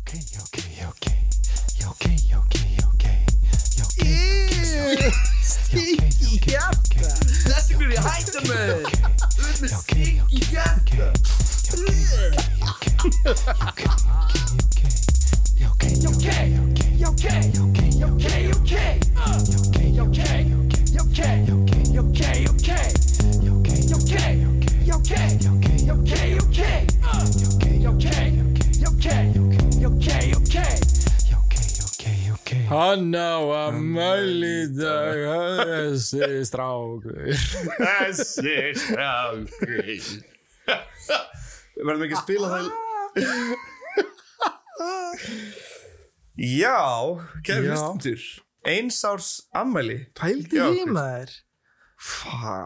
okay, you okay, you okay. You okay, you okay, you okay. You okay, you okay, you okay, you okay. Þessi ykkur í You hættu okay, með you okay. Þú ert Já, með ok, stík í Okay, hjarta you okay, you okay, you okay. You okay, you okay, you okay. You okay, you okay, you okay. You okay, you okay, you okay. You okay, you okay, you okay. You okay, you okay, you okay. You okay, you okay, you okay. You okay, you okay, you okay. You okay, you okay, you okay. You okay, you okay, you okay. You okay. Hann á að mæli í dag, þessi strákur. Þessi strákur Við verðum ekki að spila það Já, kæri Já. hlustendur Eins árs ammæli Pældi Já, í Krist. maður Fá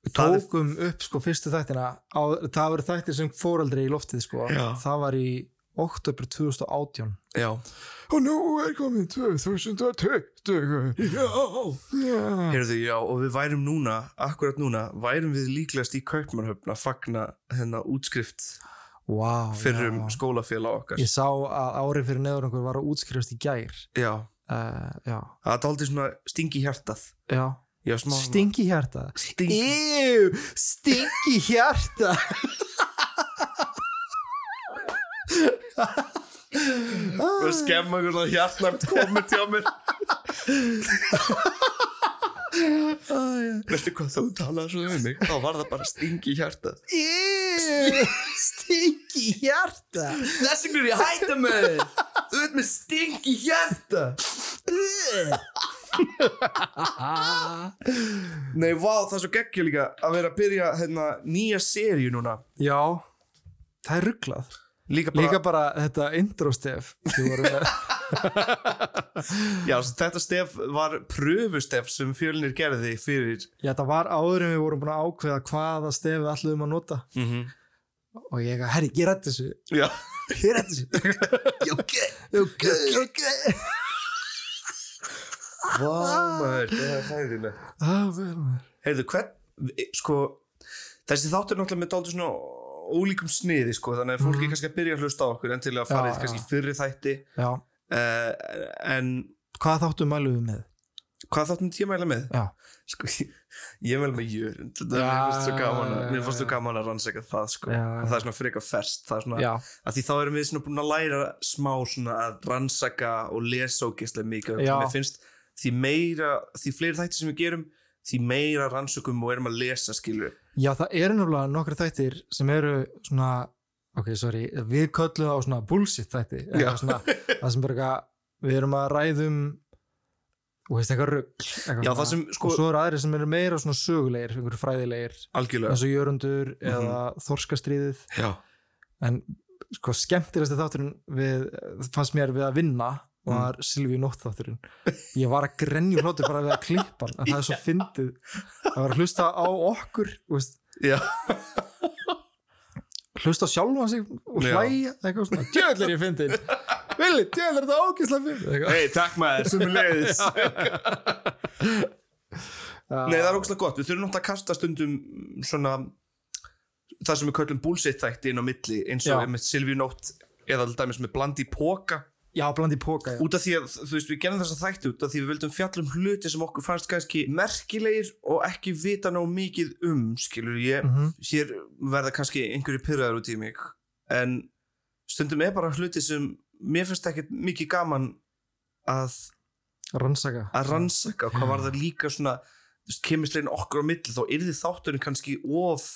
Við Það er- tókum upp sko fyrstu þættina á, það voru þættir sem fór aldrei í loftið sko Já. það var í oktober 2018 Já, Og nú er komið 2020. heyrðu, já, og við værum núna, akkurat núna, værum við líklegast í Kaupmannhöfn að fagna hérna útskrift wow, fyrir um já. skólafélag okkar. ég sá að árið fyrir neður einhver var að útskrifast í gær Já, uh, já, það er aldrei svona stingi hjartað. já Já, smá svona- stingi hjarta Stingi. Ew, stingi hjarta og skemma einhvern veginn hjartnæmt komið hjá mér veistu hvað þú talaði svo um mig þá var það bara stingi hjarta Ew, stingi hjarta þessi hverju ég hætta með þér þú veit með stingi hjarta nei, vá, það er svo geggjur líka að vera að byrja hérna, nýja seríu núna já, það er rugglað líka bara, Líka bara þetta intro-stef sem voru með. já, svo þetta stef var pröfustef sem fjölnir gerði fyrir Já, það var áður en við vorum búin að ákveða hvaða stef við ætluðum að nota mm og ég að, herri, ég rætt þessu já ég rætt þessu ok, ok, ok vá, maður, það er hæðilegt ah, vel, maður. Heyrðu, hvern, sko, þessi þáttur er náttúrulega með dálítið svona ólíkum sniði, sko, þannig að fólk er kannski að byrja að hlusta á okkur en til að Mhm. Já, fara í kannski já. fyrri þætti, Já, uh, en hvað þáttu mælum við með? hvað þáttum ég mæla með? Já. Sko, ég, ég mæla með jörund, þetta Já, er mér fannst svo gaman já, já, að, mér fannst svo já. gaman að rannsaka það, sko, Já, og það er svona freka fest, það er svona, Já, að því þá erum við svona búin að læra smá svona að rannsaka og lesa og gæslega mikið Já. og mér finnst því meira, því fleiri þætti sem við gerum, því meira rannsökum og erum að lesa skilur. Já, það eru náttúrulega nokkri þættir sem eru svona, ok, sorry, við köllum það á svona bullshit þætti. eða Já. Svona, það sem bara eitthvað, við erum að ræðum, þú veist, eitthvað rugg. Já, það sem, sko- Og svo eru aðrir sem eru meira svona sögulegir, einhverju fræðilegir, Algjörlega. eins og Jörundur eða Mhm. Þorskastríðið. Já. En sko, skemmtilegasti þátturinn við, fannst mér við að vinna var Mhm. mm. Silvi Nótt þátturinn ég var að grenju hlóti bara við að klippa hann en það er svo fyndið að vera að hlusta á okkur þú veist, Já. hlusta á sjálfan sig og Já. hlæja eitthvað svona, djöðl er ég fyndin Vili, djöðl er þetta ógislega fyndin eitthvað. Hei, takk maður, sem er leiðis. Nei, það er ógæslega gott. Við þurfum náttúrulega að kasta stundum svona það sem við köllum bullshit þætti inn á milli eins Já. og með Silvíu Nótt eða alltaf dæmis með Blandi Póka já, bland í póka já. út af því að, þú veist, við gerðum þessa þætti út af því við vildum fjalla um hluti sem okkur fannst kannski merkilegir og ekki vita ná mikið um, skilur ég Mhm. hér verða kannski einhverju pyrraðar út í mig en stundum er bara hluti sem mér finnst ekkert mikið gaman að rannsaka að rannsaka og hvað var það líka svona þú veist, kemislegin okkur á milli þá yrði þátturinn kannski of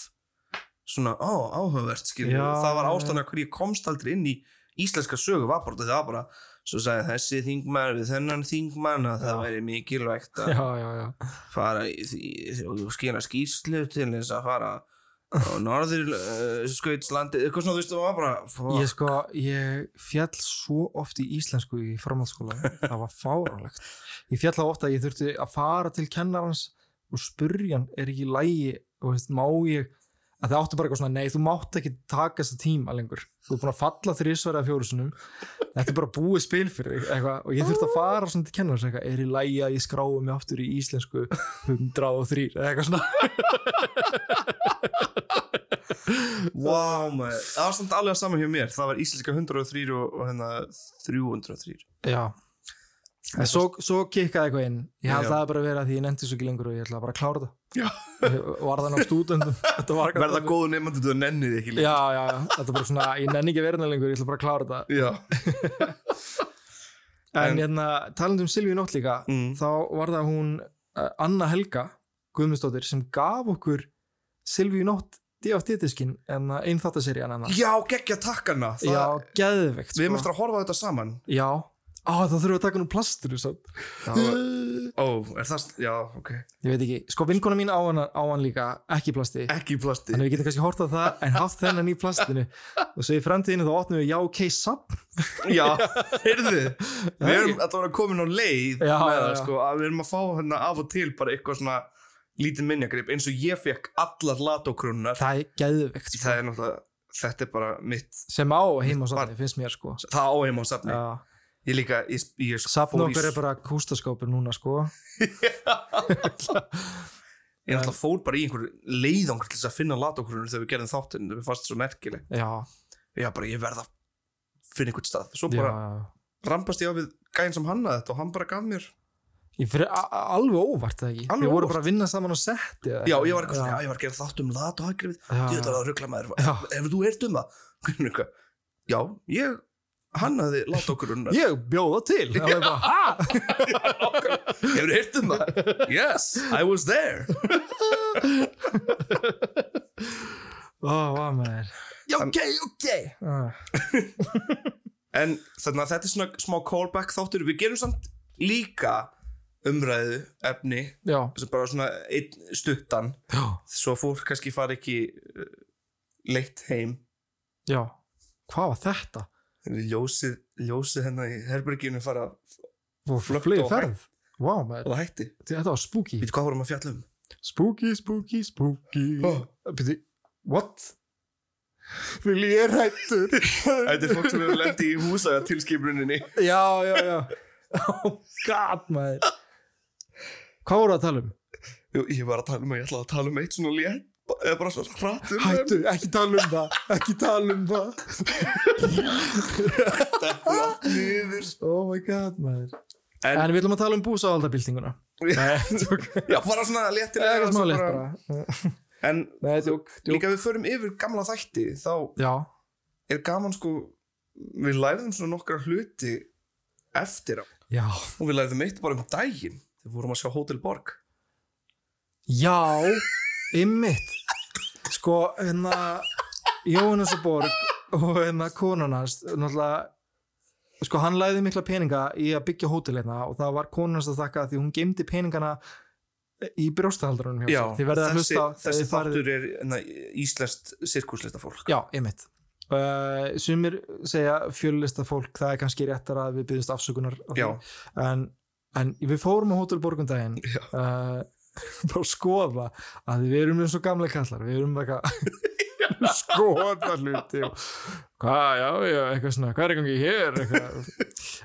svona, ó, áhugavert skilur Já. það var ástæðan að hverju ég komst aldrei inn í íslenska sögu var bara, það var bara svo sagði þessi þingmann við þennan þingmann að það Já. væri mikilvægt að já, já, já, fara í, í, í skýra skýrslu til þess að fara á norður uh, skautslandið, eitthvað svona þú veist það var bara fuck. ég sko ég fjall svo oft í íslensku í framhaldsskóla, það var fáránlegt ég fjall þá oft að ég þurfti að fara til kennarans og spurja hann er ekki í lægi, þú veist, má ég að það áttu bara eitthvað svona, nei, þú mátt ekki taka þessa tíma lengur, þú er búin að falla þrísvar eða fjórusunum, þetta er bara búið spil fyrir þig, eitthvað, og ég þurfti að fara svona til kennarans, eitthvað, er í lægi að ég skráu mig aftur í íslensku 103 eða eitthvað svona Vá, maður. Það var samt alveg að sama hjá mér. Það var íslenska 103 og, og hérna 303. Já En svo, svo kikkaði eitthvað inn Ég held Já. það bara að vera því ég nefndi svo ekki lengur og ég ætlaði bara að klára það Já. Ég Var það ná stúdendum Þetta var Verða góð nefnandi þú nennið ekki Já, já, já, þetta er bara svona Ég nenni ekki að vera hérna lengur, ég ætla bara að klára þetta Já. En, En- hérna, talandi um Silvíu Nótt líka Mm. Þá var það hún uh, Anna Helga Guðmundsdóttir sem gaf okkur Silvíu Nótt D.A.T.-diskin en einn þáttaserían hérna, hennar Já, geggja takkana. Já, sko. Það, geðveikt við erum eftir að horfa á þetta saman. Já, á, það þurfum við að taka nú plastur samt. Ó, er það... Já, ok. Ég veit ekki, sko vinkona mín á hann, á hann líka ekki í plasti Ekki í plasti. Þannig við getum kannski hort á það en haft þennan í plastinu og svo í framtíðinu þá opnum við já ok sapp Já, heyrðu. Við Já, erum ekki. alltaf komin á leið Já, með það, já. sko. Að við erum að fá hérna af og til bara eitthvað svona lítið minjagrip eins og ég fekk allar latokrónunar. það er geðveikt sko. Það er náttúrulega... Þetta er bara mitt... sem á heim á safni finnst mér sko Það á heim á safni. ja. Ég líka... Ég, ég, ég safn fór í- okkar er bara kústaskópur núna sko Ég náttúrulega fór bara í einhver leiðangur til þess að finna latokrunur þegar við gerðum þáttinn, það fannst svo merkileg. já, Já, bara ég verð að finna einhvern stað. Svo já, bara já. rampast ég á við gæðin sem hannaði þetta og hann bara gaf mér. Ég fyrir, a- a- alveg óvart það ekki Alveg við vorum óvart. bara að vinna saman og setti Já, ég var eitthvað svona, já, ég var að gera þátt um lat og haggrifið. Ég ætla að ruggla maður, Já. ef þú ert um það. Hvernig eitthvað, já, ég hannaði latokrunur. ég bjóða til það var bara, ha? Hefur ert um það? Yes, I was there. Ó, vá, maður. Já, ok, ok. Ah, En þannig að þetta er svona smá callback þáttur. Við gerum samt líka umræðu efni já, sem bara svona einn stuttan já, svo fólk kannski fari ekki uh, leitt heim já hvað var þetta? ljósið, ljósið hennar í herberginu fara Flöktu flögt og og ferð Vá, maður, að hætti þetta var spooky Við hvað vorum að fjalla um? Spooky, spooky, spooky Oh. Byrði, what? Vil ég er hættur Þetta er fólk sem hefur lendi í húsa tilskipuninni Já, já, já Oh god, maður Hvað voru að tala um? Jú, Ég var að tala um að ég ætlaði að tala um eitt svona létt eða bara svona hratt um Hættu, ekki tala um það Ekki tala um það Látt niður Oh my god, maður En- En, við ætlum að tala um búsáhaldabildinguna Já, bara svona léttir Eitthvað smá leitt bara En Nei, tjók, tjók líka við förum yfir gamla þætti þá Já, er gaman sko við læriðum svona nokkra hluti eftir á já og við læriðum eitt bara um daginn þegar við vorum að sjá Hotel Borg Já, ymmit Sko, hérna Jóhannes og Borg og hérna konan hans náttúrulega sko hann læði mikla peninga í að byggja hótel hérna og það var konan hans að þakka því hún geymdi peningana í brjóstahaldrunum hjá sér. Þið verðið að þessi, hlusta þessi þið farið- þáttur er na, íslenskt sirkuslista fólk Já, ymmit uh, Sumir segja fjölista fólk það er kannski réttar að við byggjumst afsökunar á því. Já. en, en við fórum á Hotel Borgundaginn uh, bara að skoða að við erum eins og gamle kallar við erum eitthvað skoða hluti og hvað, já, já, eitthvað svona, hvað er í gangi hér eitthvað.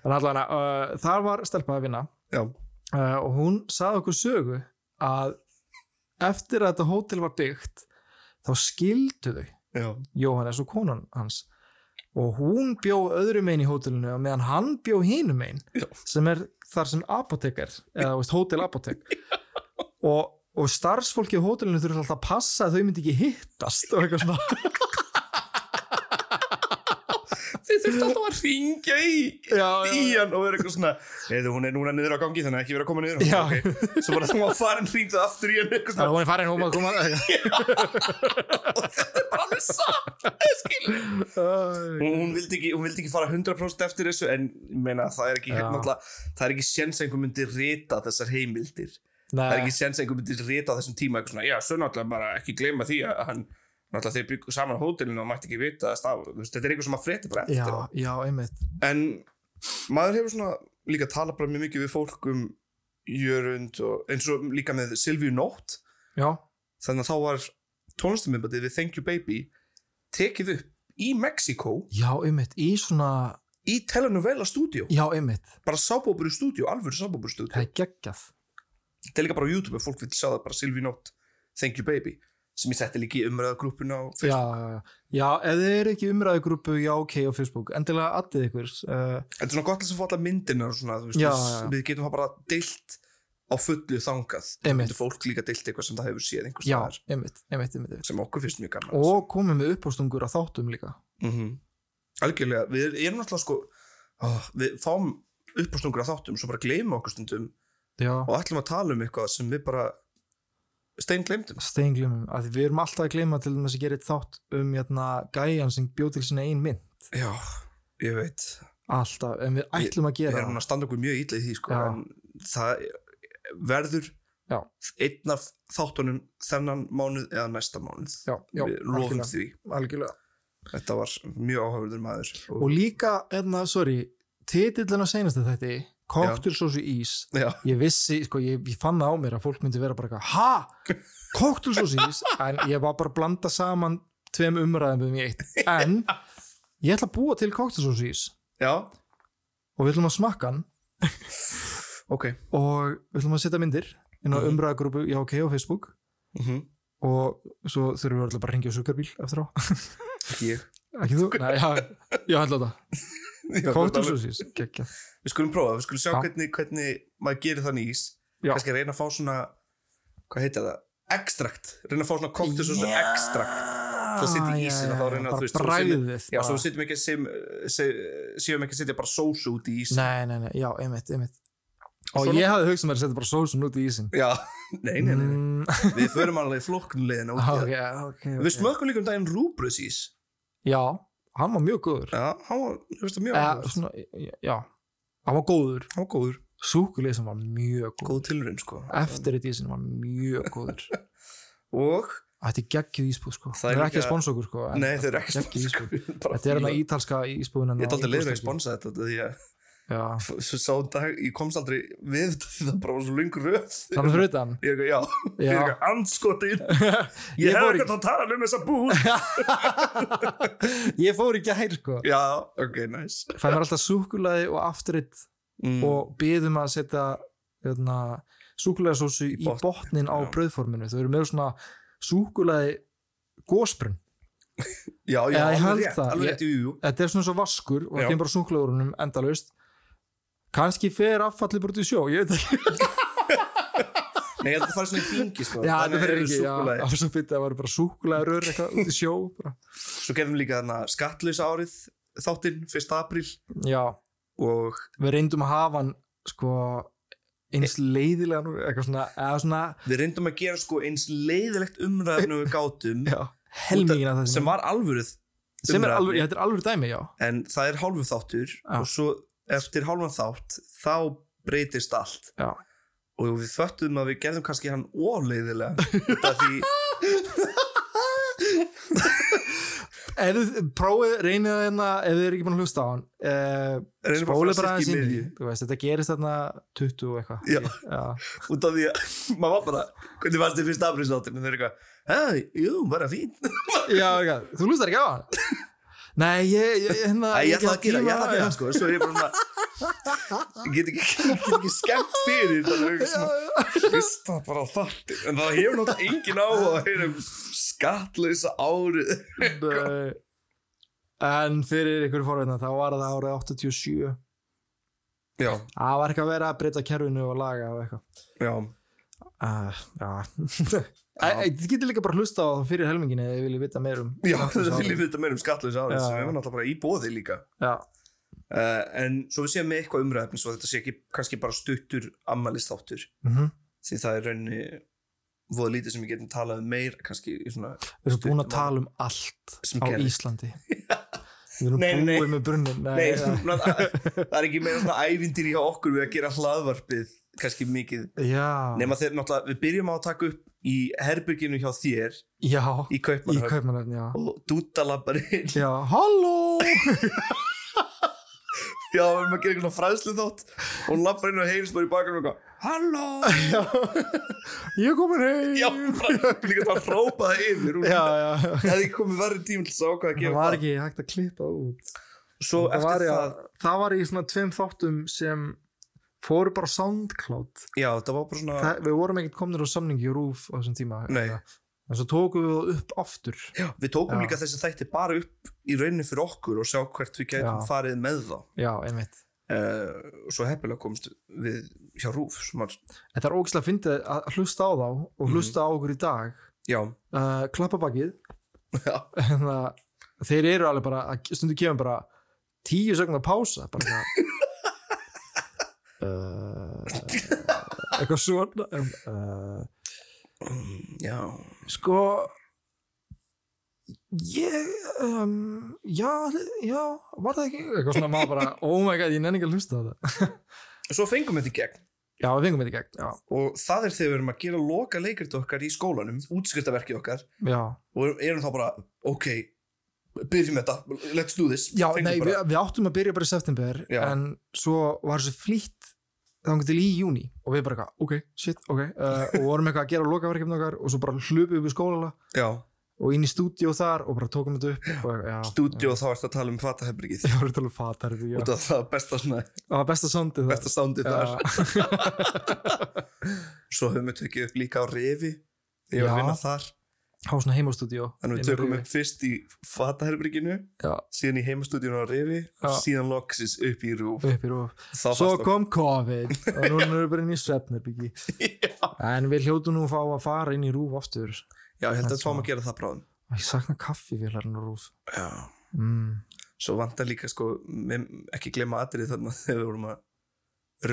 en allan að uh, þar var stelpa að vinna Já. uh, og hún saði okkur sögu að eftir að þetta hótel var byggt þá skildu þau Já. Jóhannes og konan hans og hún bjó öðrum einn í hótelinu og meðan hann bjó hinum einn Já. sem er þar sem apotek er eða þú veist, hótel apotek og, og starfsfólki á hótelinu þurfa alltaf að passa að þau myndi ekki hittast og eitthvað svona Þið þurftu alltaf að ringja í já, í hann og vera eitthvað svona eða hún er núna niður á gangi þannig að ekki vera að koma niður Já. okay. svo bara þú var farin ringdu aftur í hann eitthvað Það svona hún er farin, hún má koma alveg satt hún, hún, vildi ekki, hún vildi ekki fara 100% eftir þessu en ég meina, það er ekki Já. náttúrulega, það er ekki séns að einhver myndi rita þessar heimildir það er Nei, ekki séns að einhver myndi rita á þessum tíma eitthvað svona, já, svo náttúrulega bara ekki gleyma því að hann náttúrulega þeir byggu saman á hótelinu og mætti ekki vita að staf, þú veist, þetta er eitthvað sem að frétti bara já, eftir á. já, einmitt en maður hefur svona líka talað bara mjög mikið við fólk um Jörund og eins og líka með Silvíu Nótt Já, þannig að þá var tónlistamimbandið við Thank You Baby tekið upp í Mexíkó já, einmitt, í svona í telenovela stúdíó Já, einmitt, bara sábóburu stúdíó, alvöru sábóburu stúdíó það er geggjað þetta er líka bara á YouTube ef fólk vil sjá það bara Silvi Nótt, Thank You Baby sem ég setti líka í umræðagrúppuna og já, já, já. já, ef þið eru ekki umræðugrúpu já, ok, á Facebook, endilega addið ykkur uh, þetta er svona gott til að fá alla myndina og svona, þú veist, Já, já, já. við getum það bara deilt á fullu þangað Einmitt. getur fólk líka deilt eitthvað sem það hefur séð einhvers já, staðar, einmitt, einmitt, einmitt, einmitt. sem okkur finnst mjög gaman og komum við uppástungur að þáttum líka -hmm. algjörlega, við erum náttúrulega sko ó, við fáum uppástungur að þáttum svo bara gleyma okkur stundum já, og ætlum að tala um eitthvað sem við bara stein gleymdum stein glemum, að við erum alltaf að gleyma til þess að gera eitt þátt um jæna, gæjan sem bjó til sinna ein mynd já, ég veit alltaf, en við ætlum að við gera erum að standa okkur mjög ítla í því sko, Já. en það verður Já. einn af þáttunum þennan mánuð eða næsta mánuð já, já, við lofum algjörlega, því algjörlega. þetta var mjög áhafurður maður og, og líka, enna, sorry titillin á senastu þetta Cocktailsósu ís já, ég vissi, sko, ég, ég fann það á mér að fólk myndi vera bara eitthvað, ha? Cocktailsósu ís? En ég var bara að blanda saman tveim umræðum um ég eitt. En ég ætla að búa til cocktailsósu ís já, og við ætlum að smakka hann ok og við ætlum að setja myndir inn á umræðagrúpu, já, ok, á Facebook mm og svo þurfum við alltaf bara að ringja á sugarbíl eftir á. ég Ekki þú? Nei, já, já, ætla þetta. Já, Cocktailsósu ís, geggjað. við skulum prófa, við skulum sjá Já. hvernig, hvernig maður gerir þannig ís Já. kannski reyna að fá svona hvað heita það, ekstrakt reyna að fá svona koktu svo svona ekstrakt það setja í ísinn og þá reyna bara að þú veist svo við setjum- bræðið já, svo bara. við setjum ekki sem, se, séum ekki að setja bara sósu út í ísinn Nei, nei, nei, já, einmitt, einmitt Og Svona- ég hafði hugsað mér að setja bara sósun út í ísin já, nei, nei, nei, Mm, nei. við förum alveg flóknulegin út ok, okay. ok, ok við smökkum líka um daginn rúbröðsís Já, hann var mjög góður já, hann var, þú veist það mjög Eða, áhugaverð. svona, Já, hann var góður hann var góður, Súkulið sem var mjög góður góð tilurinn sko Eftir þetta ísin var mjög góður og, Þetta er geggjuð ísbúð sko Það Það er er ekki líka- að sponsa okkur sko en nei, þeir eru ekki þetta er spons ísbúð. bara sko. Þetta er hann fíla. ítalska ísbúðin hérna ég er aldrei leiður að sponsa þetta út af því að Já, svo sá um dag, ég komst aldrei við þetta því það bara var svo lengur röð ég þannig fyrir utan er eitthvað, já, ég er Já. eitthvað anskotin Ég ég hef fór ekkert að tala um þessa búð Ég fór í gær sko já, ok, nice Fæði mér alltaf súkulaði og afturrið mm. og byðum að setja hérna, súkulæðasósu í, Í botn, botnin á já. brauðforminu þau eru með svona súkulæði gósbrunn, já, já, Já, ég held alveg rétt, það. alveg rétt, jú, jú þetta er svona svo vaskur og Já. það kemur bara súkulæðurunum endalaust kannski fer affallið bara út í sjó ég veit ekki, nei, ég held að það fara svona í hringi, sko já þetta Þannig fer eru ekki já, súkkulaði. það var svo fyrir að það var bara súkulæðurur eitthvað út í sjó bara. svo gerðum líka þarna skattlösa árið þáttinn, 1. apríl já, og við reyndum að hafa hann sko eins leiðilega nú, eitthvað svona, eða svona við reyndum að gera sko eins leiðilegt umræðinu við gátum já, helmingina þessi sem var alvöruð sem er umræðan. alveg, já, þetta er alveg dæmi, já en það er hálfu þáttur Já. og svo eftir hálfan þátt þá breytist allt Já. og við föttum að við gerðum kannski hann óleiðilega út af því Ef þið prófið, reynið það hérna ef þið eru ekki búin að hlusta á hann uh, spólið reynum bara að bara fara aðeins styrk í inn í miðju þú veist, þetta gerist þarna 20 og eitthvað Já. já, út af því að maður var bara hvernig varst þið fyrst afriðsdáttin og þeir eru eitthvað, hei, jú, bara fín já eitthvað. þú hlustar ekki á hann nei, ég, ég, hérna, Æ, ég ætla að ekki gera, ég ætla að gera tíma- sko svo er ég bara svona ég get ekki, ég get ekki skemmt fyrir það er eitthvað svona hlusta bara á þáttin en það hefur náttúrulega engin á að heyra um skattlausa árið Nei. en fyrir ykkur forveitna þá var það árið 87 já, það var ekki að vera að breyta kerfinu og laga og eitthvað já Ah, uh, já Æ, æ, Þið getur líka bara að hlusta á það fyrir helmingin eða þið viljið vita meir um Já, það viljum við þetta meira um skattlösa árið Já. sem hefur náttúrulega bara í bóði líka Já, uh, en svo við séum með eitthvað umræðefni svo þetta sé ekki kannski bara stuttur ammælistáttur mhm. því það er rauninni voða lítið sem við getum talað um meir kannski í svona Við erum búin að Stuttum tala um allt Sem á gerðist. Íslandi Við erum Nei, nei, nei. búið með brunnin Nei, svona, það er ekki meira svona ævindir í okkur við að gera hlaðvarpið kannski mikið Já, nema þegar náttúrulega við byrjum á að taka upp í herbyrginu hjá þér já, í, í Kaupmannhöfn Kaupmannhöfn, já og dútalabbarinn Já, halló Já, við erum að gera eitthvað fræðslu þátt og hún labbar inn og heyrist bara í bakanum og eitthvað Halló! Ég er komin heim Já, bara líka það hrópaði yfir hún já, já. Það hefði komið verri tíma til þess að ákvæða að Það gera var ekki hægt að klippa út Svo það var, eftir já, það, það var í svona tveim þáttum sem fóru bara á SoundCloud já, það var bara svona það, Við vorum ekkert komnir á samningi í Rúf á þessum tíma Nei. Eða- en svo tókum við það upp aftur Já, við tókum Já. líka þessi þætti bara upp í rauninni fyrir okkur og sjá hvert við gætum Já. farið með þá já, einmitt uh, og svo heppilega komst við hjá Rúf sem var, þetta er ógislega fyndið að hlusta á þá og Mhm. hlusta á okkur í dag já, uh, klappabakið já, hérna, þeir eru alveg bara að stundu kemur bara tíu sekundar pása bara eitthvað uh, eitthvað svona um, uh, já sko ég um, já, já, var það ekki eitthvað svona maður bara, oh my god, ég nenni ekki að hlusta á það svo fengum við þetta í gegn já, við fengum þetta í gegn, já, og það er þegar við erum að gera loka leikrit okkar í skólanum, útskriftaverkið okkar já og erum þá bara, ok byrjum þetta, let's do this Já, Fengum nei, við, bara, við áttum að byrja bara í september Já. en svo var þessu flýtt þannig til í júni og við bara eitthvað, ok, shit, ok uh, og vorum eitthvað að gera lokaverkefni okkar og svo bara hlupum við skóla já, og inn í stúdíó þar og bara tókum þetta upp og, eitthvað, já, stúdíu og þá ertu að tala um fataherbyrgið ég voru talað fatar því, um já. út af það besta svona, það var besta soundið besta soundið þar já, svo höfum við tekið upp líka á refi þegar ég var Já. að vinna þar á svona heimastúdíó þannig við tökum upp fyrst í fataherbyrginu Já. síðan í heimastúdíun á refi Já. síðan loksis upp í rúf upp í rúf þá svo fannst kom COVID og núna erum við bara inn í svefnerbyggi en við hljótu nú að fá að fara inn í rúf aftur og Já, ég held að Þetta við fáum var- að gera það bráðum ég sakna kaffi við hlærin og rúf Já. mm. Svo vantar líka sko, mem- ekki glemma atrið þarna þegar við vorum að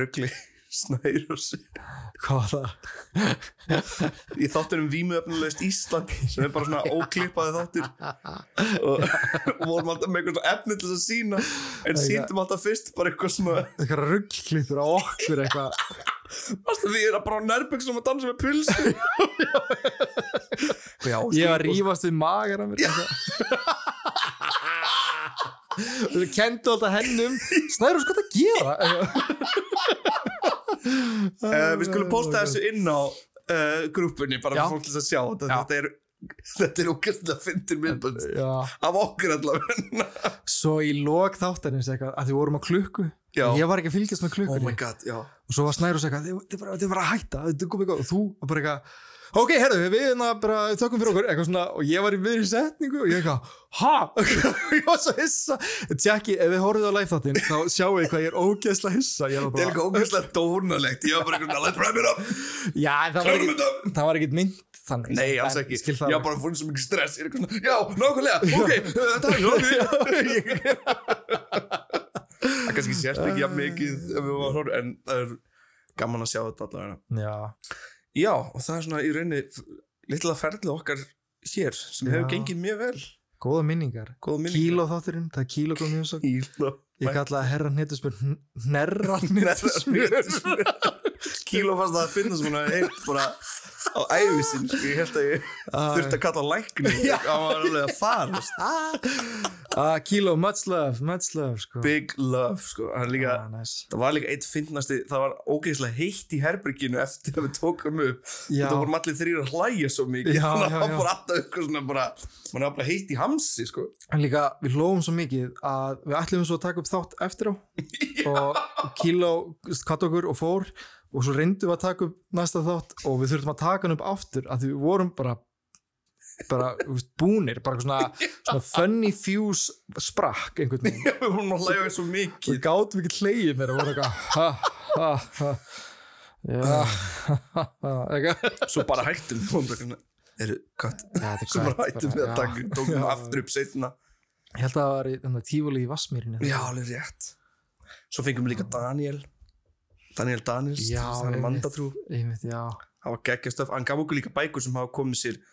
ruggli snæður og sig hvað var það í þáttunum vímuöfnulegst Ísland sem er bara svona óklippaði þáttur og vorum alltaf með eitthvað efni til þess að sína en síndum alltaf fyrst bara eitthvað svona eitthvað rugglýtur á okkur eitthvað Vastu því er að bara nærbuxum að dansa með pulsu Já, ég var að rífast við magar að mér þú kendu alltaf hennum snæður sko að gera Uh, við skulum posta Oh my þessu inn á uh, grúpunni bara Já. fyrir fólk til að sjá þetta, Já. þetta er þetta er ógæstilega fyndir myndbönd já, af okkur allavega svo í lok þáttanins eitthvað að því vorum á klukku Já. ég var ekki að fylgjast með oh my klukkunni god, já og svo var snæður eitthvað "Þið- þið bara- þið bara að hætta, þetta er komið góð og þú var bara eitthvað Ok, herru, við hérna bara tökum fyrir okkur eitthvað svona og ég var í miðri setningu og ég eitthvað, ha? ég var svo hissa. Jackie, ef við horfið á live-þáttinn þá sjáu þið hvað ég er ógeðslega hissa. Ég var þetta er bara, líka ógæstilega dónalegt ég var bara eitthvað, let's wrap it up Já, en það var klörum ekkit, þetta það var ekkit mynd þannig. nei, alls En ekki, Skil ég það. var bara fórn svo mikið stress ég er eitthvað svona, já, nákvæmlega, ok eh, þetta er nákvæmlega það er kannski sérst ekki jafn mikið ef við varum að horfa, en það er gaman að sjá þetta allavega Já, Já, og það er svona í rauninni litla ferðlið okkar hér sem hefur Já. gengið mjög vel góða minningar. Góða minningar. Kíló þátturinn, það er kíló kom mjög svo. Kíló Ég kallaði herran hnettusmjör, hnerra hnettusmjör. Kíló fannst það að finna sem hún hafi heilt bara á æfisin ég held að ég þurfti að kalla lækni það var alveg að farast Ah, kíló, much love, much love, sko. Big love, sko, hann líka Ah, nice. það var líka eitt fyndnasti, það var ógeðslega heitt í herberginu eftir að við tókum upp Já. þetta vorum allir þrýr að hlæja svo mikið Já, þannig já, að það já. var alltaf eitthvað svona bara mann var bara heitt í hamsi, sko En líka, við hlófum svo mikið að við ætlum svo að taka upp þátt eftir á og Kíló katt okkur og fór og svo reyndum við að taka upp næsta þátt og við þurftum að taka hann upp aftur að því við vorum bara bara þú veist, búnir, bara eitthvað svona, svona funny fuse sprakk einhvern veginn við vorum að hlæja svo mikið við gátum ekki hleyið mér og vorum eitthvað ha, ha, ha já, ha, ha, ha eitthvað svo bara hættum við vorum bara svona, eru katt svo bara hættum við að taka tókum Já. aftur upp setna ég held að það var í þarna tífuli í Vassmýrinni já alveg rétt svo fengum við líka Daniel Daniel Daniels Já, hann er einmitt. mandatrú einmitt, já, hann var geggjastöf hann gaf okkur líka bækur sem hafa komið sér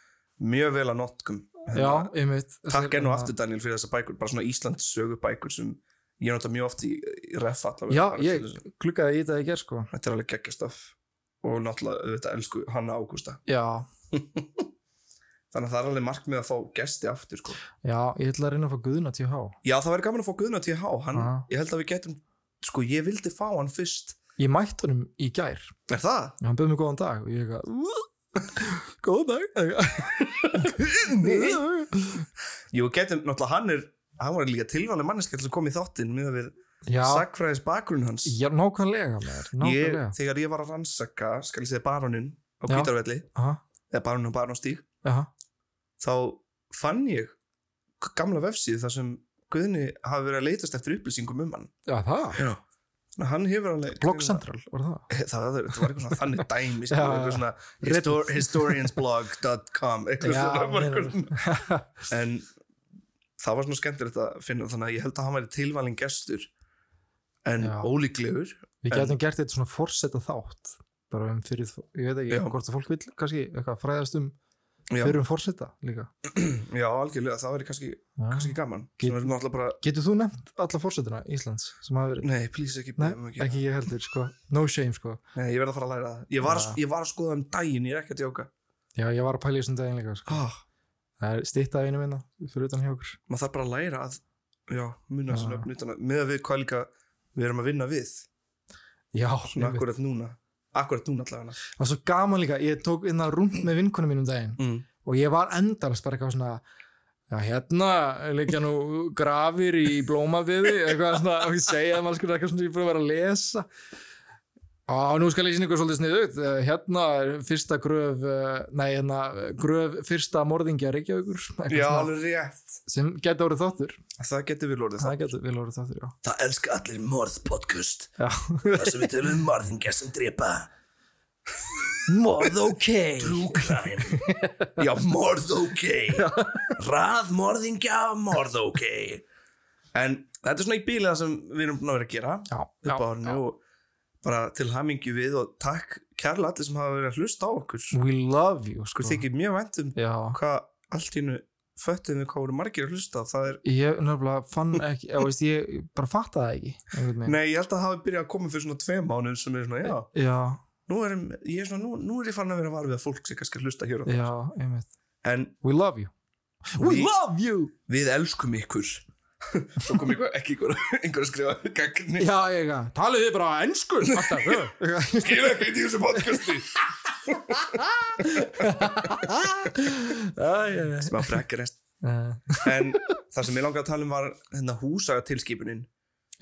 mjög vel að notkum Hérna, já, einmitt hérna- takk enn og aftur Daniel fyrir þessar bækur bara svona Íslands sögu bækur sem ég nota mjög oft í, í ref allavega Já, Bara til ég þess að- klukkaði í þetta í gerð sko þetta er alveg geggjastöf og náttúrulega auðvitað elsku Hanna Ágústa Já, þannig að það er alveg markmið að fá gesti aftur sko. já, ég ætla að reyna að fá guðna til há Já, það væri gaman að fá Guðna TH hann, Já. Ég held að við getum, sko, ég vildi fá hann fyrst Ég mætti honum í gær Er það? Hann bauð mér góðan dag og ég eitthvað Góðan dag Jú, getum, náttúrulega hann er hann var líka tilvæmlega manneska til að koma í þáttinn með að við Já, sagfræðis bakgrunn hans já nákvæmlega maður, ég, Nákvæmlega Þegar ég var að rannsaka, skal ég segja baróninn á Já. Kvítarvelli Aha, eða baróninn á Barónstíg aha, þá fann ég gamla vefsíð þar sem Guðni hafi verið að leitast eftir upplýsingum um hann Já, það. Já. Þannig að hann hefur alveg Blog Central, var það? það, það, það var eitthvað svona þannig dæmi Já, sem já. var eitthvað svona histor, historiansblog.com eitthvað Já, svona var eitthvað já. svona. en það var svona skemmtilegt að finna þannig að ég held að hann væri tilvalin gestur en Já. ólíklegur Við En- getum gert þetta svona forsetta þátt bara um fyrir, ég veit ekki Já. hvort að fólk vil kannski eitthvað fræðast um já, fyrir um forsetta líka já, algjörlega, það væri kannski, kannski gaman Ah. Get- sem er náttúrulega bara, Getur þú nefnt alla forsetuna Íslands sem hafa verið? nei, please ekki, Nei, um ekki ég heldur, sko No shame, sko Nei, ég verð að fara að læra það ég var, Já. að- ég var að skoða um daginn, ég er ekki að djóka Já, ég var að pæla í þessum daginn líka, sko ah, Það er stýttað einu minna hérna fyrir utan hjá okkur maður þarf bara að læra að já, munna þessu Já. nöfn utan að með að við hvað líka við erum að vinna við Já, svona einmitt. akkurat núna akkurat núna allavega það var svo gaman líka Ég tók inn að rúmt með vinkunum mínum um daginn mm. og ég var endalast bara eitthvað svona Já, hérna liggja nú grafir í blómaviði, eitthvað svona, og ég segja að maður skur eitthvað svona, ég er búin að vera að lesa. Á, nú skal ég sína ykkur svolítið sniðugt. Eh, Hérna er fyrsta gröf, eh, nei, hérna, gröf fyrsta morðingja Reykjavíkur, eitthvað já, svona, alveg rétt sem geta orðið þáttur. það getur við lórið það Það geta vel orðið þáttur, já. Það elska allir morðpodcast Já, þar sem við tölum um morðingja sem drepa morð ok. True crime, já, morð ok Rað morðingja, morð ok en þetta er svona í bílið það sem við erum búin að vera að gera Já, já, upp á árinu já. og bara til hamingju við og takk kærlega allir sem hafa verið að hlusta á okkur sko, We love you, sko. þykir mjög vænt um Já. hvað allt í hennu föttum við hvað voru margir að hlusta á það er Ég nefnilega fann ekki, ég veist, ég bara fattaði það ekki. einhvern veginn. Nei, ég held að það hafi byrjað að koma fyrir svona tveim mánuðum sem er svona, já, Já, nú er, ég er, svona, nú, nú er ég farin að vera varfið að fólk sem kannski að hlusta hér og það. já, einmitt. En We love you. We Við- love you! við elskum ykkur. Svo kom ykkur, ekki ykkur, einhver að skrifa gagnni. Já, ég að, talið þið bara ennsku alltaf. já. Skil ekki í þessu podcasti. Já, já, já. Smá frekkarest. Eh, En það sem ég langaði að tala um var hérna húsagatilskipunin.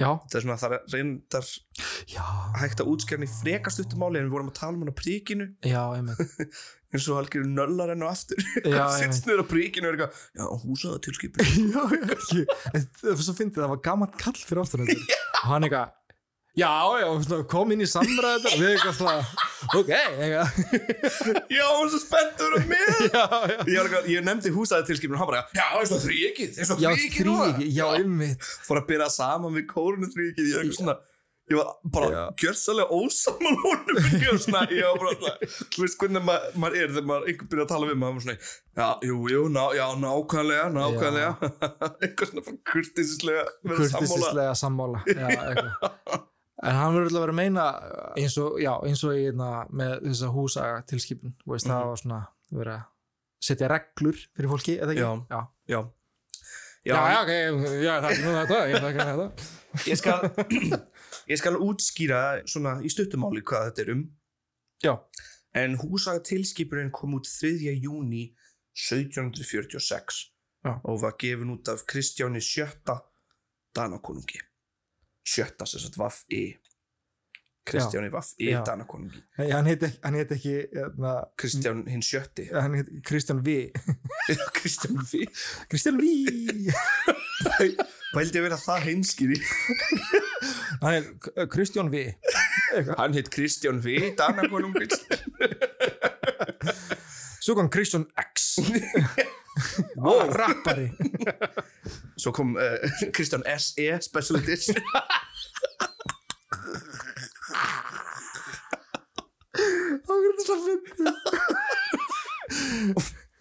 Já, Það er svona að það er reyndar já, hægt að útskjörni frekastuttumáli en við vorum að tala um hann á príkinu já, einmitt. eins og algjör nöllar enn og aftur. Já, einmitt. Sittst niður á príkinu og er eitthvað, já, húsagatilskipunin. Já, já, ekki. En Svo fyndið það var gaman kall fyrir aftur þetta. Og hann eitthvað, já, já, svona, kom inn í samræðu þetta. Við eitthvað svona, ok, eitthvað. Já, hann var svo spenntur um og með. Já, já. ég, var eitthvað- ég nefndi húsæði tilskipinu og hann bara já, eins og þrýkið, eins og Já, þrýkið þrýgi, já, einmitt. fór að byrja saman við kórunu þrýkið ég, var eitthvað svona, ég var bara gjörsalega ósaman honum ég var svona, ég var bara svona, þú veist hvernig ma maður er þegar maður einhver byrja að tala við maður var svona, já, jú, jú, ná, já, nákvæmlega nákvæmlega, eitthvað svona bara kurtisislega, verða sammála Kurtisislega sammála. Já, eitthvað. En hann verður alltaf að vera að meina uh, eins og, já, eins og ég, na, með þessa húsaga tilskipin, veist, það var svona verið að setja reglur fyrir fólki, eða ekki? Já. já. já, já, Já, já, ok, já, það er nú þetta, ég þakka þér þetta. ég skal ég skal útskýra svona í stuttumáli hvað þetta er um Já. en húsagatilskipurinn kom út 3. júni 1746 Já. og var gefin út af Kristjáni VII Danakonungi sjötta sem sagt Vaff-I Kristjáni Vaff-I Já. Danakonungi Nei, hann heit ekki, hann heit ekki hérna, Kristján hinn sjötti hann heit Kristján V Kristján V Kristján V Vældi að vera það heimskýri hann heit K- uh, Kristján V Hann heit Kristján V Danakonungi svo kom Kristján X Wow. rappari Svo kom uh, Kristján S.E. Special Edition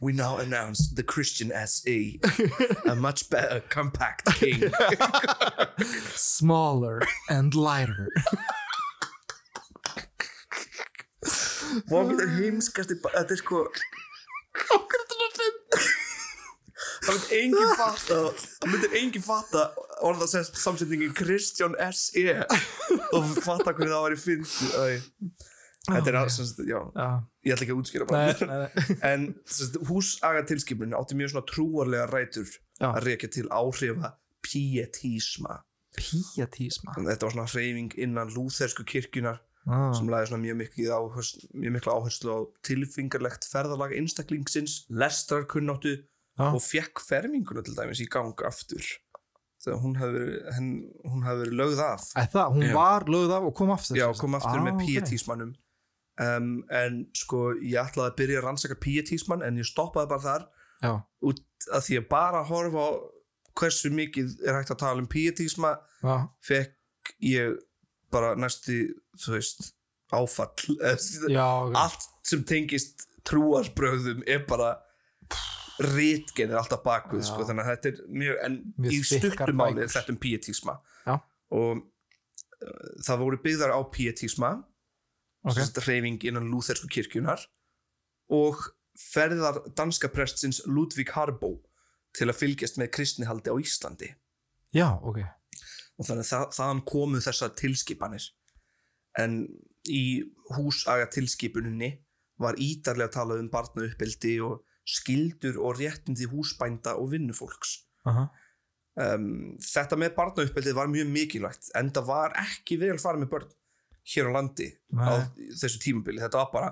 We now announce the Christian S.E. A much better compact king smaller and lighter Hvað er heimskasti ba- Þetta er sko Það myndi engin fatta Það myndi engin fatta orða sem samsetningin Kristján S.E. og fatta hvernig það var í finn Þetta er að, sem sagt, já, já, ég ætla ekki að útskýra nei, bara nei, nei. En húsagatilskipnin átti mjög svona trúarlega rætur Já. að rekja til áhrifa pietisma píatísma Þannig að Þetta var svona hreyfing innan lúþersku kirkjunar ah. sem lagði svona mjög, mikið áherslu, mjög mikla áherslu á tilfingarlegt ferðalag einstaklingsins, lestrarkunnáttu Já. og fekk ferminguna til dæmis í gang aftur þegar hún hafði verið- henn- hún hafði verið lögð af Æ, það, hún Já. var lögð af og kom aftur já, kom aftur með Ah, ok. pietismannum um, en sko ég ætlaði að byrja að rannsaka pietismann en ég stoppaði bara þar Já, að því að bara horfa á hversu mikið er hægt að tala um pietisma já, fekk ég bara næsti þú veist áfall Eða, já ok. allt sem tengist trúarsbröðum er bara rítgeðir alltaf bakvið Já. sko, þannig að þetta er mjög en Mjög í þykkar stuttum máli er bækur. þetta um pietisma Já. og uh, það voru byggðar á pietisma Ok. okay. reyfing innan lúþersku kirkjunar og ferðar danska prestsins Ludvig Harbo til að fylgjast með kristnihaldi á Íslandi já, ok og þannig að það, þaðan komu þessar tilskipanir en í húsaga tilskipuninni var ítarlega talað um barna uppeldi og skildur og réttindi húsbænda og vinnufólks Aha. um, þetta með barna uppeldið var mjög mikilvægt en það var ekki vel farið með börn hér á landi á Nei. þessu tímabili þetta var bara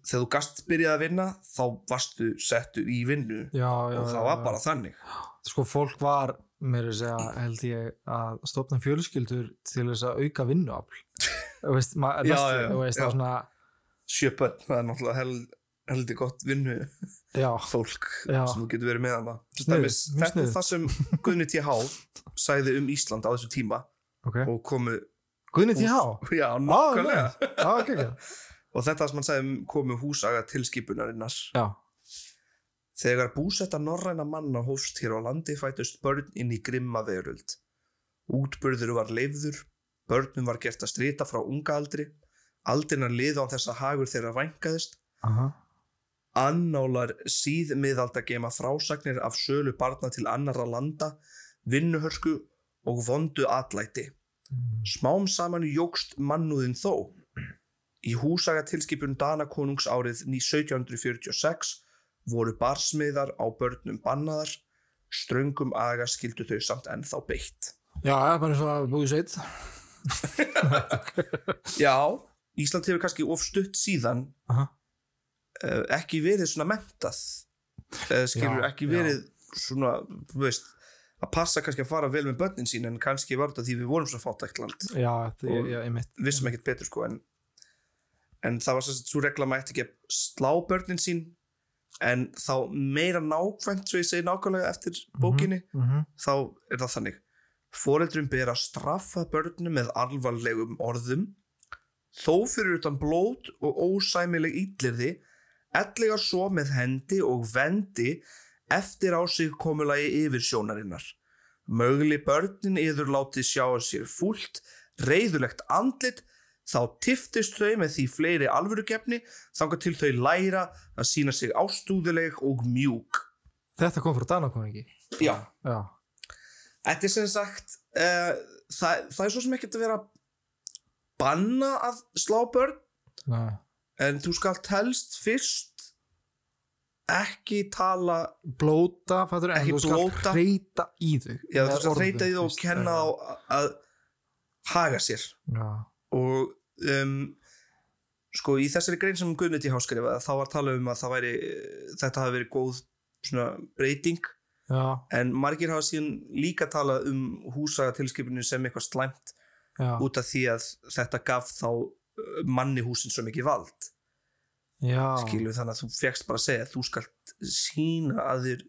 þegar þú gast byrjaði að vinna þá varstu settur í vinnu já, já, og það já, var já. bara þannig sko fólk var mér að segja held ég að stofna fjölskyldur til þess að auka vinnuafl Þú veist, maður, Já, næstu, já, þú veist, já. það var svona sjö börn, það er náttúrulega hel, heldur gott vinnu já, fólk Já. sem þú getur verið með hana Sniðugt, Dæmis, mjög þetta er sniðugt. það sem Guðni T.H. sagði um Ísland á þessu tíma ok og komu Guðni T.H. já, Ah, nákvæmlega nei. Já, ok, ok. og þetta sem hann sagði um komu húsaga tilskipunarinnar Já, þegar búsetta norræna manna hófst hér á landi fætust börn inn í grimma veröld útbörður var leifður börnum var gert að strita frá unga aldri aldrinnar liða á þess að hagur þeirra vænkaðist aha, annálar síðmiðalda gema frásagnir af sölu barna til annarra landa, vinnuhörku og vondu atlæti. Mm. Smám saman jógst mannúðin þó. Í húsagatilskipun Danakonungs árið 1746 voru barsmiðar á börnum bannaðar, ströngum aga skildu þau samt ennþá beitt. já, já, bara eins og að búið sveit Já, Ísland hefur kannski ofstutt síðan Aha. uh, ekki verið svona mentað uh, skilur Já, ekki já. verið svona, þú veist að passa kannski að fara vel með börnin sín en kannski var þetta því við vorum svo fátækt land Já, því, Og- já, einmitt vissum ekkert betur sko en, en það var sérst svo regla að maður ætti ekki að slá börnin sín en þá meira nákvæmt svo ég segi nákvæmlega eftir bókinni mm þá er það þannig foreldrum ber að straffa börnum með alvarlegum orðum þó fyrir utan blót og ósæmileg ítlirði ellega svo með hendi og vendi eftir á sig komulagi yfirsjónarinnar mögli börnin yður láti sjá að sér fúlt reyðulegt andlit þá tiftist þau með því fleiri alvörugefni þangar til þau læra að sína sig ástúðuleg og mjúk Þetta kom frá Danakoningi já, Já, Þetta er sem sagt uh, það, það er svo sem ekkert að vera að banna að slá börn nei, en þú skal telst fyrst ekki tala blóta, fattur en Ekki þú skal blóta. reyta í þau með já, þú skal orðum reyta í þú og fyrst. kenna Já, þá að haga sér Já, og um, sko í þessari grein sem Guðniti háskrifaði þá var talað um að það væri þetta hafi verið góð svona breyting já, en margir hafa síðan líka talað um húsagatilskipinu sem eitthvað slæmt já, út af því að þetta gaf þá uh, manni húsin svo mikið vald já. skilur þannig að þú fegst bara að segja að þú skalt sína að þér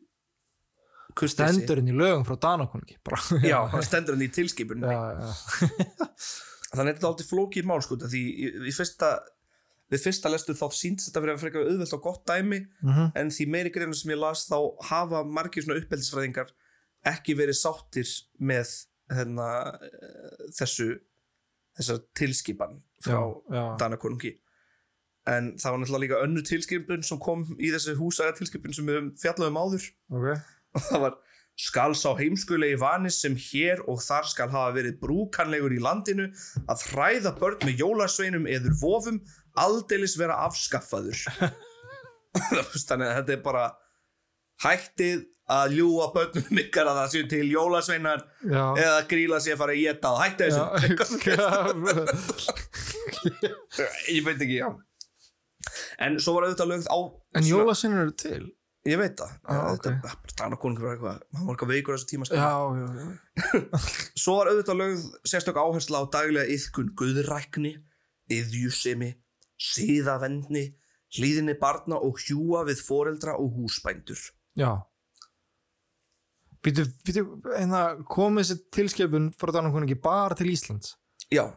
kurteisi. Stendurinn í lögum frá Danakoningi bara. já, það stendur hann í tilskipun já, já, þannig að þetta er aldrei flókið mál sko, út af því í, í fyrsta við fyrsta lestur þá síndist þetta verið að freka auðvelt og gott dæmi mm en því meiri greina sem ég las þá hafa margir svona uppeldisfræðingar ekki verið sáttir með hérna, eh, þessu þessar tilskipan frá, já, já. Danakonungi en það var náttúrulega líka önnu tilskipun sem kom í þessu húsaga tilskipun sem við höfum fjallað um áður Ok, og það var skal sá heimskulegi vanis sem hér og þar skal hafa verið brúkanlegur í landinu að hræða börn með jólasveinum eður vofum aldeilis vera afskaffaður þannig að þetta er bara hættið að ljúa börnum ykkar að það séu til jólasveinar já eða að gríla sér að fara að geta það hætti þessu þessu ég veit ekki, já en svo var auðvitað lögð á En svona- jólasveinar eru til Ég veit það, Já, ah, ok. okay. þetta danakonungur var eitthvað, hann var eitthvað veikur á þessu tíma sko. já, já, já. Svo var auðvitað lögð sérstök áhersla á daglega yðkun guðrækni, yðjusemi, síðavendni, hlýðinni barna og hjúa við foreldra og húsbændur. já. Býtu, býtu, hérna, komið þessi tilskipun frá Danakonungi bara til Íslands? Já,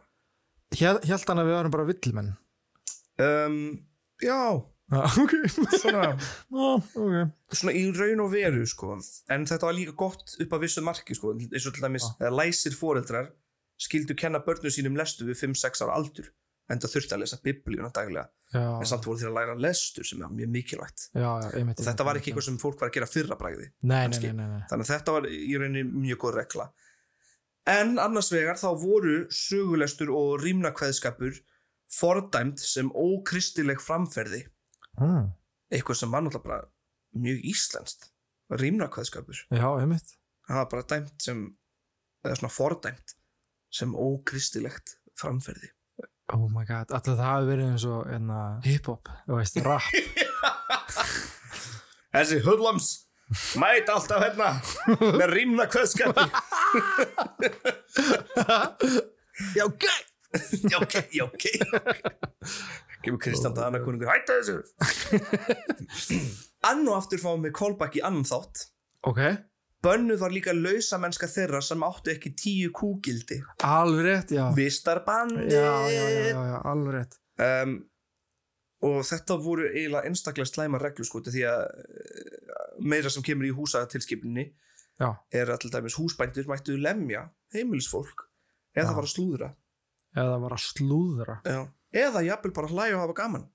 Hjælt hann að við varum bara villimenn? um, já, Já, ok. svona, Já, ok. svona í raun og veru sko. En þetta var líka gott upp að vissu marki sko, eins og til dæmis ah. læsir foreldrar skildu kenna börnum sínum lestu við 5-6 ára aldur en það þurfti að lesa biblíuna daglega Já, en samt voru þeir að læra lestur sem er mjög mikilvægt já, já, einmitt. og þetta var ekki eitthvað sem fólk var að gera fyrra bragði Nei, nei, kannski. nei, nei, nei. þannig að þetta var í rauninni mjög góð regla en annars vegar þá voru sögulestur og rýmnakveðskapur fordæmt sem ókristileg framferði Mm. eitthvað sem var náttúrulega bara mjög íslenskt rýmnakveðskapur, Já, einmitt. hann var bara dæmt sem eða svona fordæmt sem ókristilegt framferði Oh my god, alltaf það hafi verið eins og hérna, hip-hop, þú veist, rap. þessi hullams mæt alltaf hérna með rýmna kveðskapi já, ok já, ok, já, ok kemur Kristján Dana kuningur hætta þessu ann og aftur fáum við callback í annan þátt ok, Bönnuð var líka lausamennska þeirra sem áttu ekki tíu kúgildi. alveg rétt, já. Vistarbandi. Já, já, já, já, já, alveg rétt. um, og þetta voru eiginlega einstaklega slæma reglur sko því að eh, meira sem kemur í húsatilskipuninni Já. er að til dæmis húsbændur mættu lemja heimilisfólk eða Já. fara að slúðra Eða var að slúðra. já. eða jafnvel bara hlæja og hafa gaman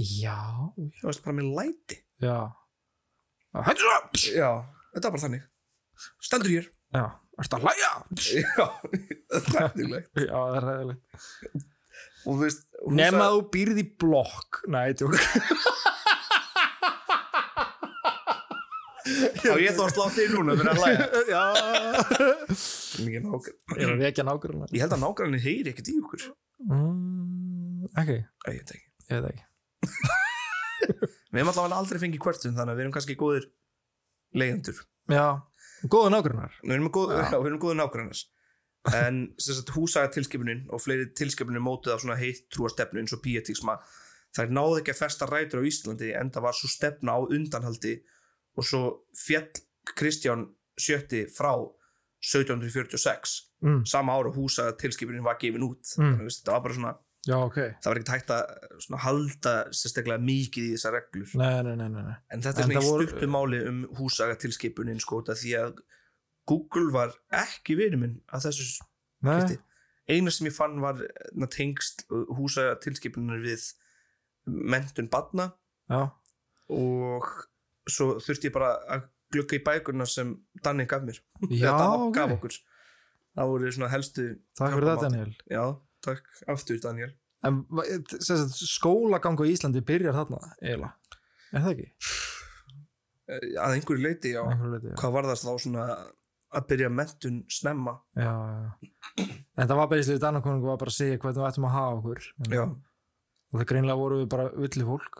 Já, þú veist bara með læti já. Hættu það! já, þetta var bara þannig stendur hér Já, ertu að hlæja? já, þetta er hægtilegt Já, það er ræðilegt. og þú veist húsa- Nefn að þú býrð í blokk. Nei, tjók. já, ég þó að slá þig núna fyrir að hlæja já. Mikið nágrann- Ég er að vekja nákvæmlega. ég held að nágrannin heyri ekkert í okkur Mm, ok, ég Æ, ég veit það ekki. veit ekki. við hefum allavega aldrei fengið hvertun þannig að við erum kannski góðir leigjendur Já, góða nákvæmlegar. Við erum með góð, já, við erum góðu nágrannars En sem sagt húsagatilskipunin og fleiri tilskipunin mótið af svona heitt trúastefnu eins og pietisma þær náðu ekki að festa rætur á Íslandi en það var svo stefna á undanhaldi og svo fjall Kristján sjötti frá 1746 Mm. sama ára húsagatilskipunin var gefin út Mm. þannig að veist, þetta var bara svona Já, ok. það var ekkert hægt að svona, halda sérstaklega mikið í þessar reglur Nei, nei, nei, nei, nei. En En þetta er svona það í voru- stuttu máli um húsagatilskipunin sko, út af því að Google var ekki verið minn að þessu Nei, skipti. Eina sem ég fann var na, tengst húsagatilskipunin við mentun barna já, og svo þurfti ég bara að glugga í bækurna sem Danni gaf mér. já, Eða Dan ok. gaf okkur. Það voru svona helstu, Takk fyrir það, Daniel. já, takk aftur Daniel. En va- sem sagt, skólagang á Íslandi byrjar þarna, eiginlega. Er það ekki? Eh, Að einhverju leiti, já. Einhverju leiti, já. Hvað var það þá svona að byrja mentun snemma? já, já. En það var beinslega Danakonungu var bara að segja hvernig við ættum að hafa okkur En- Já. og það greinlega voru við bara villi fólk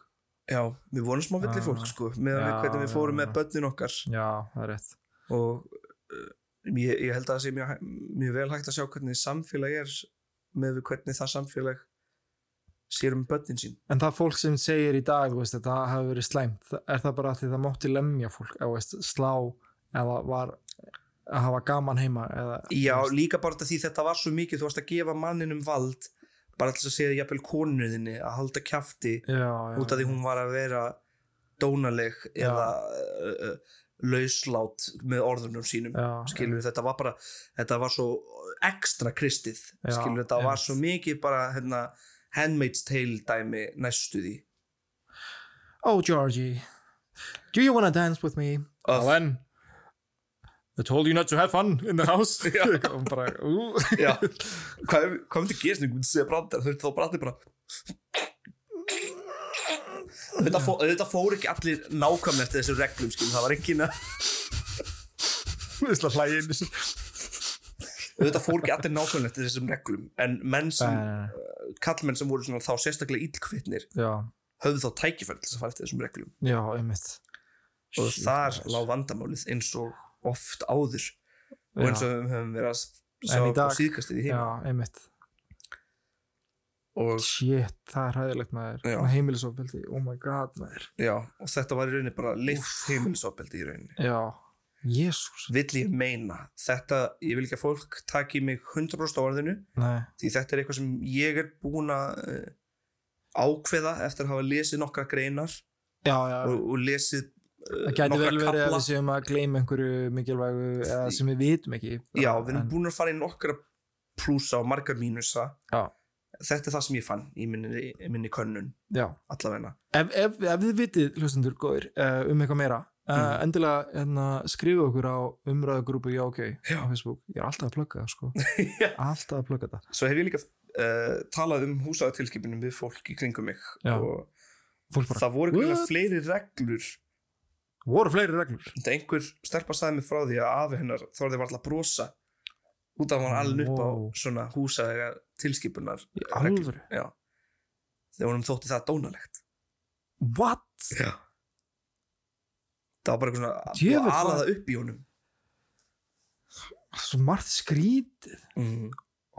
Já, við vorum smá villið fólk Já. sko með Ah. Já, hvernig við fórum já, með já. börnin okkar já, það er rétt og uh, ég, ég held að það sé mjög, hæ- mjög vel hægt að sjá hvernig samfélag er með við hvernig það samfélag sér um börnin sín en það fólk sem segir í dag þú veist, að það hafi verið slæmt, það- er það bara af því það mátti lemja fólk, eða þú veist, slá eða var að hafa gaman heima eða, Já, líka bara þetta því þetta var svo mikið þú varst að gefa manninum vald bara til þess að segja jafnvel konuðinni að halda kjafti já, já, út af því hún var að vera dónaleg Já. eða uh, uh, lauslát með orðunum sínum já, skilur þetta var bara þetta var svo ekstra kristið Já, skilur þetta einmitt. var svo mikið bara hérna, handmaid's tale dæmi næstu því oh Georgie do you wanna dance with me Öff. Ellen I told you not to have fun in the house og bara, ú Já. hvað ef- hvað myndi gerst einhvern veginn segja brandar þurfti þá brandar bara þetta, fó, þetta fór ekki allir nákvæmlega eftir þessum reglum skilur það var ekki Þetta hlæði inn þetta fór ekki allir nákvæmlega eftir þessum reglum en menn sem Já, kallmenn sem voru svona, þá sérstaklega ílkvittnir höfðu þá tækifæri til þess að fara eftir þessum reglum já, einmitt og Shit, þar maður. lág vandamálið eins og oft áður og Já. eins og við höfum verið að sjá En í upp á dag- síðkastið í heim Já, einmitt og, Shit, það er hæðilegt maður Já. Heimilisofbeldi, oh my god maður já, og þetta var í rauninni bara lift heimilisofbeldi í rauninni Já, jésús vill ég meina þetta, ég vil ekki að fólk taki mig 100% á orðinu Nei, því þetta er eitthvað sem ég er búin að eh, ákveða eftir að hafa lesið nokkra greinar já, já og, og lesið eh, Það gæti nokkra vel verið að kafla. við séum að gleyma einhverju mikilvægu eða sem við vitum ekki já, við erum En- búin að fara í nokkra plusa og marga mínusa Já. þetta er það sem ég fann í minni, í minni könnun Já, allavegna ef, ef, ef þið vitið hlustundur góðir uh, um eitthvað meira uh, Mhm. endilega hérna, skrifu okkur á umræðugrúpu já ok Já. á Facebook, ég er alltaf að plugga það sko Já. alltaf að plugga það, svo hef ég líka uh, talað um húsaðatilskipunum við fólk í kringum mig Já. og fólk bara, það voru greinilega What? fleiri reglur voru fleiri reglur þetta einhver stelpa sagði mig frá því að afi hennar þorði var alltaf að brosa út af hann alveg upp á Wow. svona húsaðega tilskipunar í reglur. alvöru, Já. þegar honum þótti það dónalegt what? Já. það var bara eitthvað svona Djöfull, búið að ala hvað- það upp í honum svo margt skrít mm.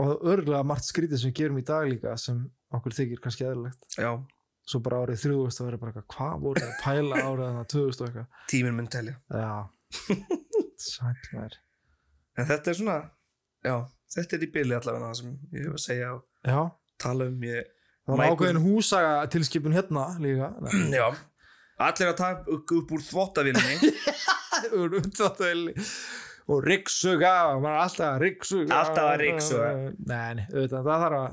og örgulega margt skrítið sem við gerum í dag líka sem okkur þykir kannski eðlilegt já, svo bara árið 3000 að vera bara eitthvað hvað voru það að pæla árið þarna 2000 og eitthvað tíminn mun telja já, sætt mér en þetta er svona, já, þetta er í byli allavega það sem ég hef að segja og já, tala um ég það var Michael- ákveðin húsaga tilskipun hérna líka Nei. já, allir að taka upp úr þvottavillinni úr útvarpsvélinni. og ryggsuga og maður er alltaf að ryggsuga Alltaf að ryksuga. nei, nei, auðvitað, það þarf að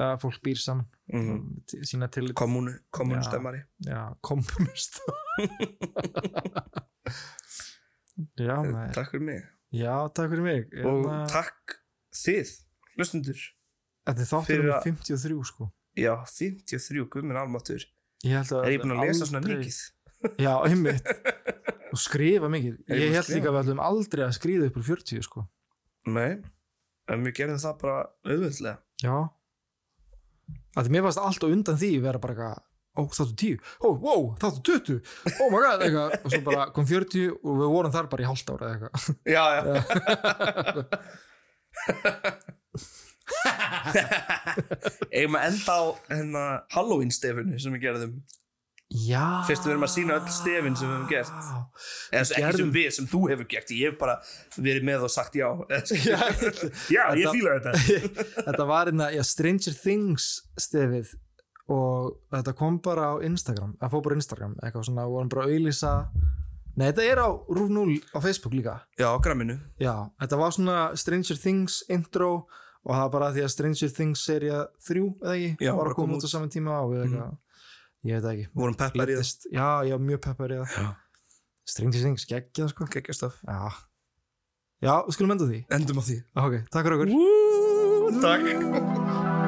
það fólk býr saman mm. t- sína til kommunu, kommunustemmari já, kompromist já, maður. takk fyrir mig já, takk fyrir mig og Hérna, takk þið hlustundur, þetta er þáttur fyrir um að- 53 sko já 53 guðminn almáttur, Ég held að er ég búin að lesa svona aldrei- mikið Já, einmitt Og skrifa mikið Er ég búin Ég að held líka að við ætlum aldrei að skriða upp úr 40 sko nei, en við gerum það bara auðvöldlega Já Af því mér fannst allt á undan því vera bara eitthvað Ó, þáttu 10, ó, wow, þáttu 20 Oh my god, eitthvað Og svo bara kom 40 og við vorum þar bara í hálft ára eitthvað já, já, eigum að enda á hennar Halloween stefinu sem við gerðum Já Fyrst við erum að sýna öll stefin sem við höfum gert. eða sem- ekki sem gerðum- við, sem þú hefur gert ég hef bara verið með og sagt já já, ég Þetta- fíla þetta Þetta var einna, já, Stranger Things stefið og þetta kom bara á Instagram það fór bara á Instagram, eitthvað svona við vorum bara að auðlýsa Nei, þetta er á Rúf 0 á Facebook líka já, á gramminu Já, þetta var svona Stranger Things intro og það var bara því að Stranger Things serja 3 eða ekki, Já, var að koma út á saman tíma og við eitthvað, ég veit það ekki vorum peppar í það Lættist, já, ég var mjög peppar í það Já. Stranger Things, geggjað sko geggjastöf Já, já, við skulum enda því endum á því Ok, takk fyrir okkur takk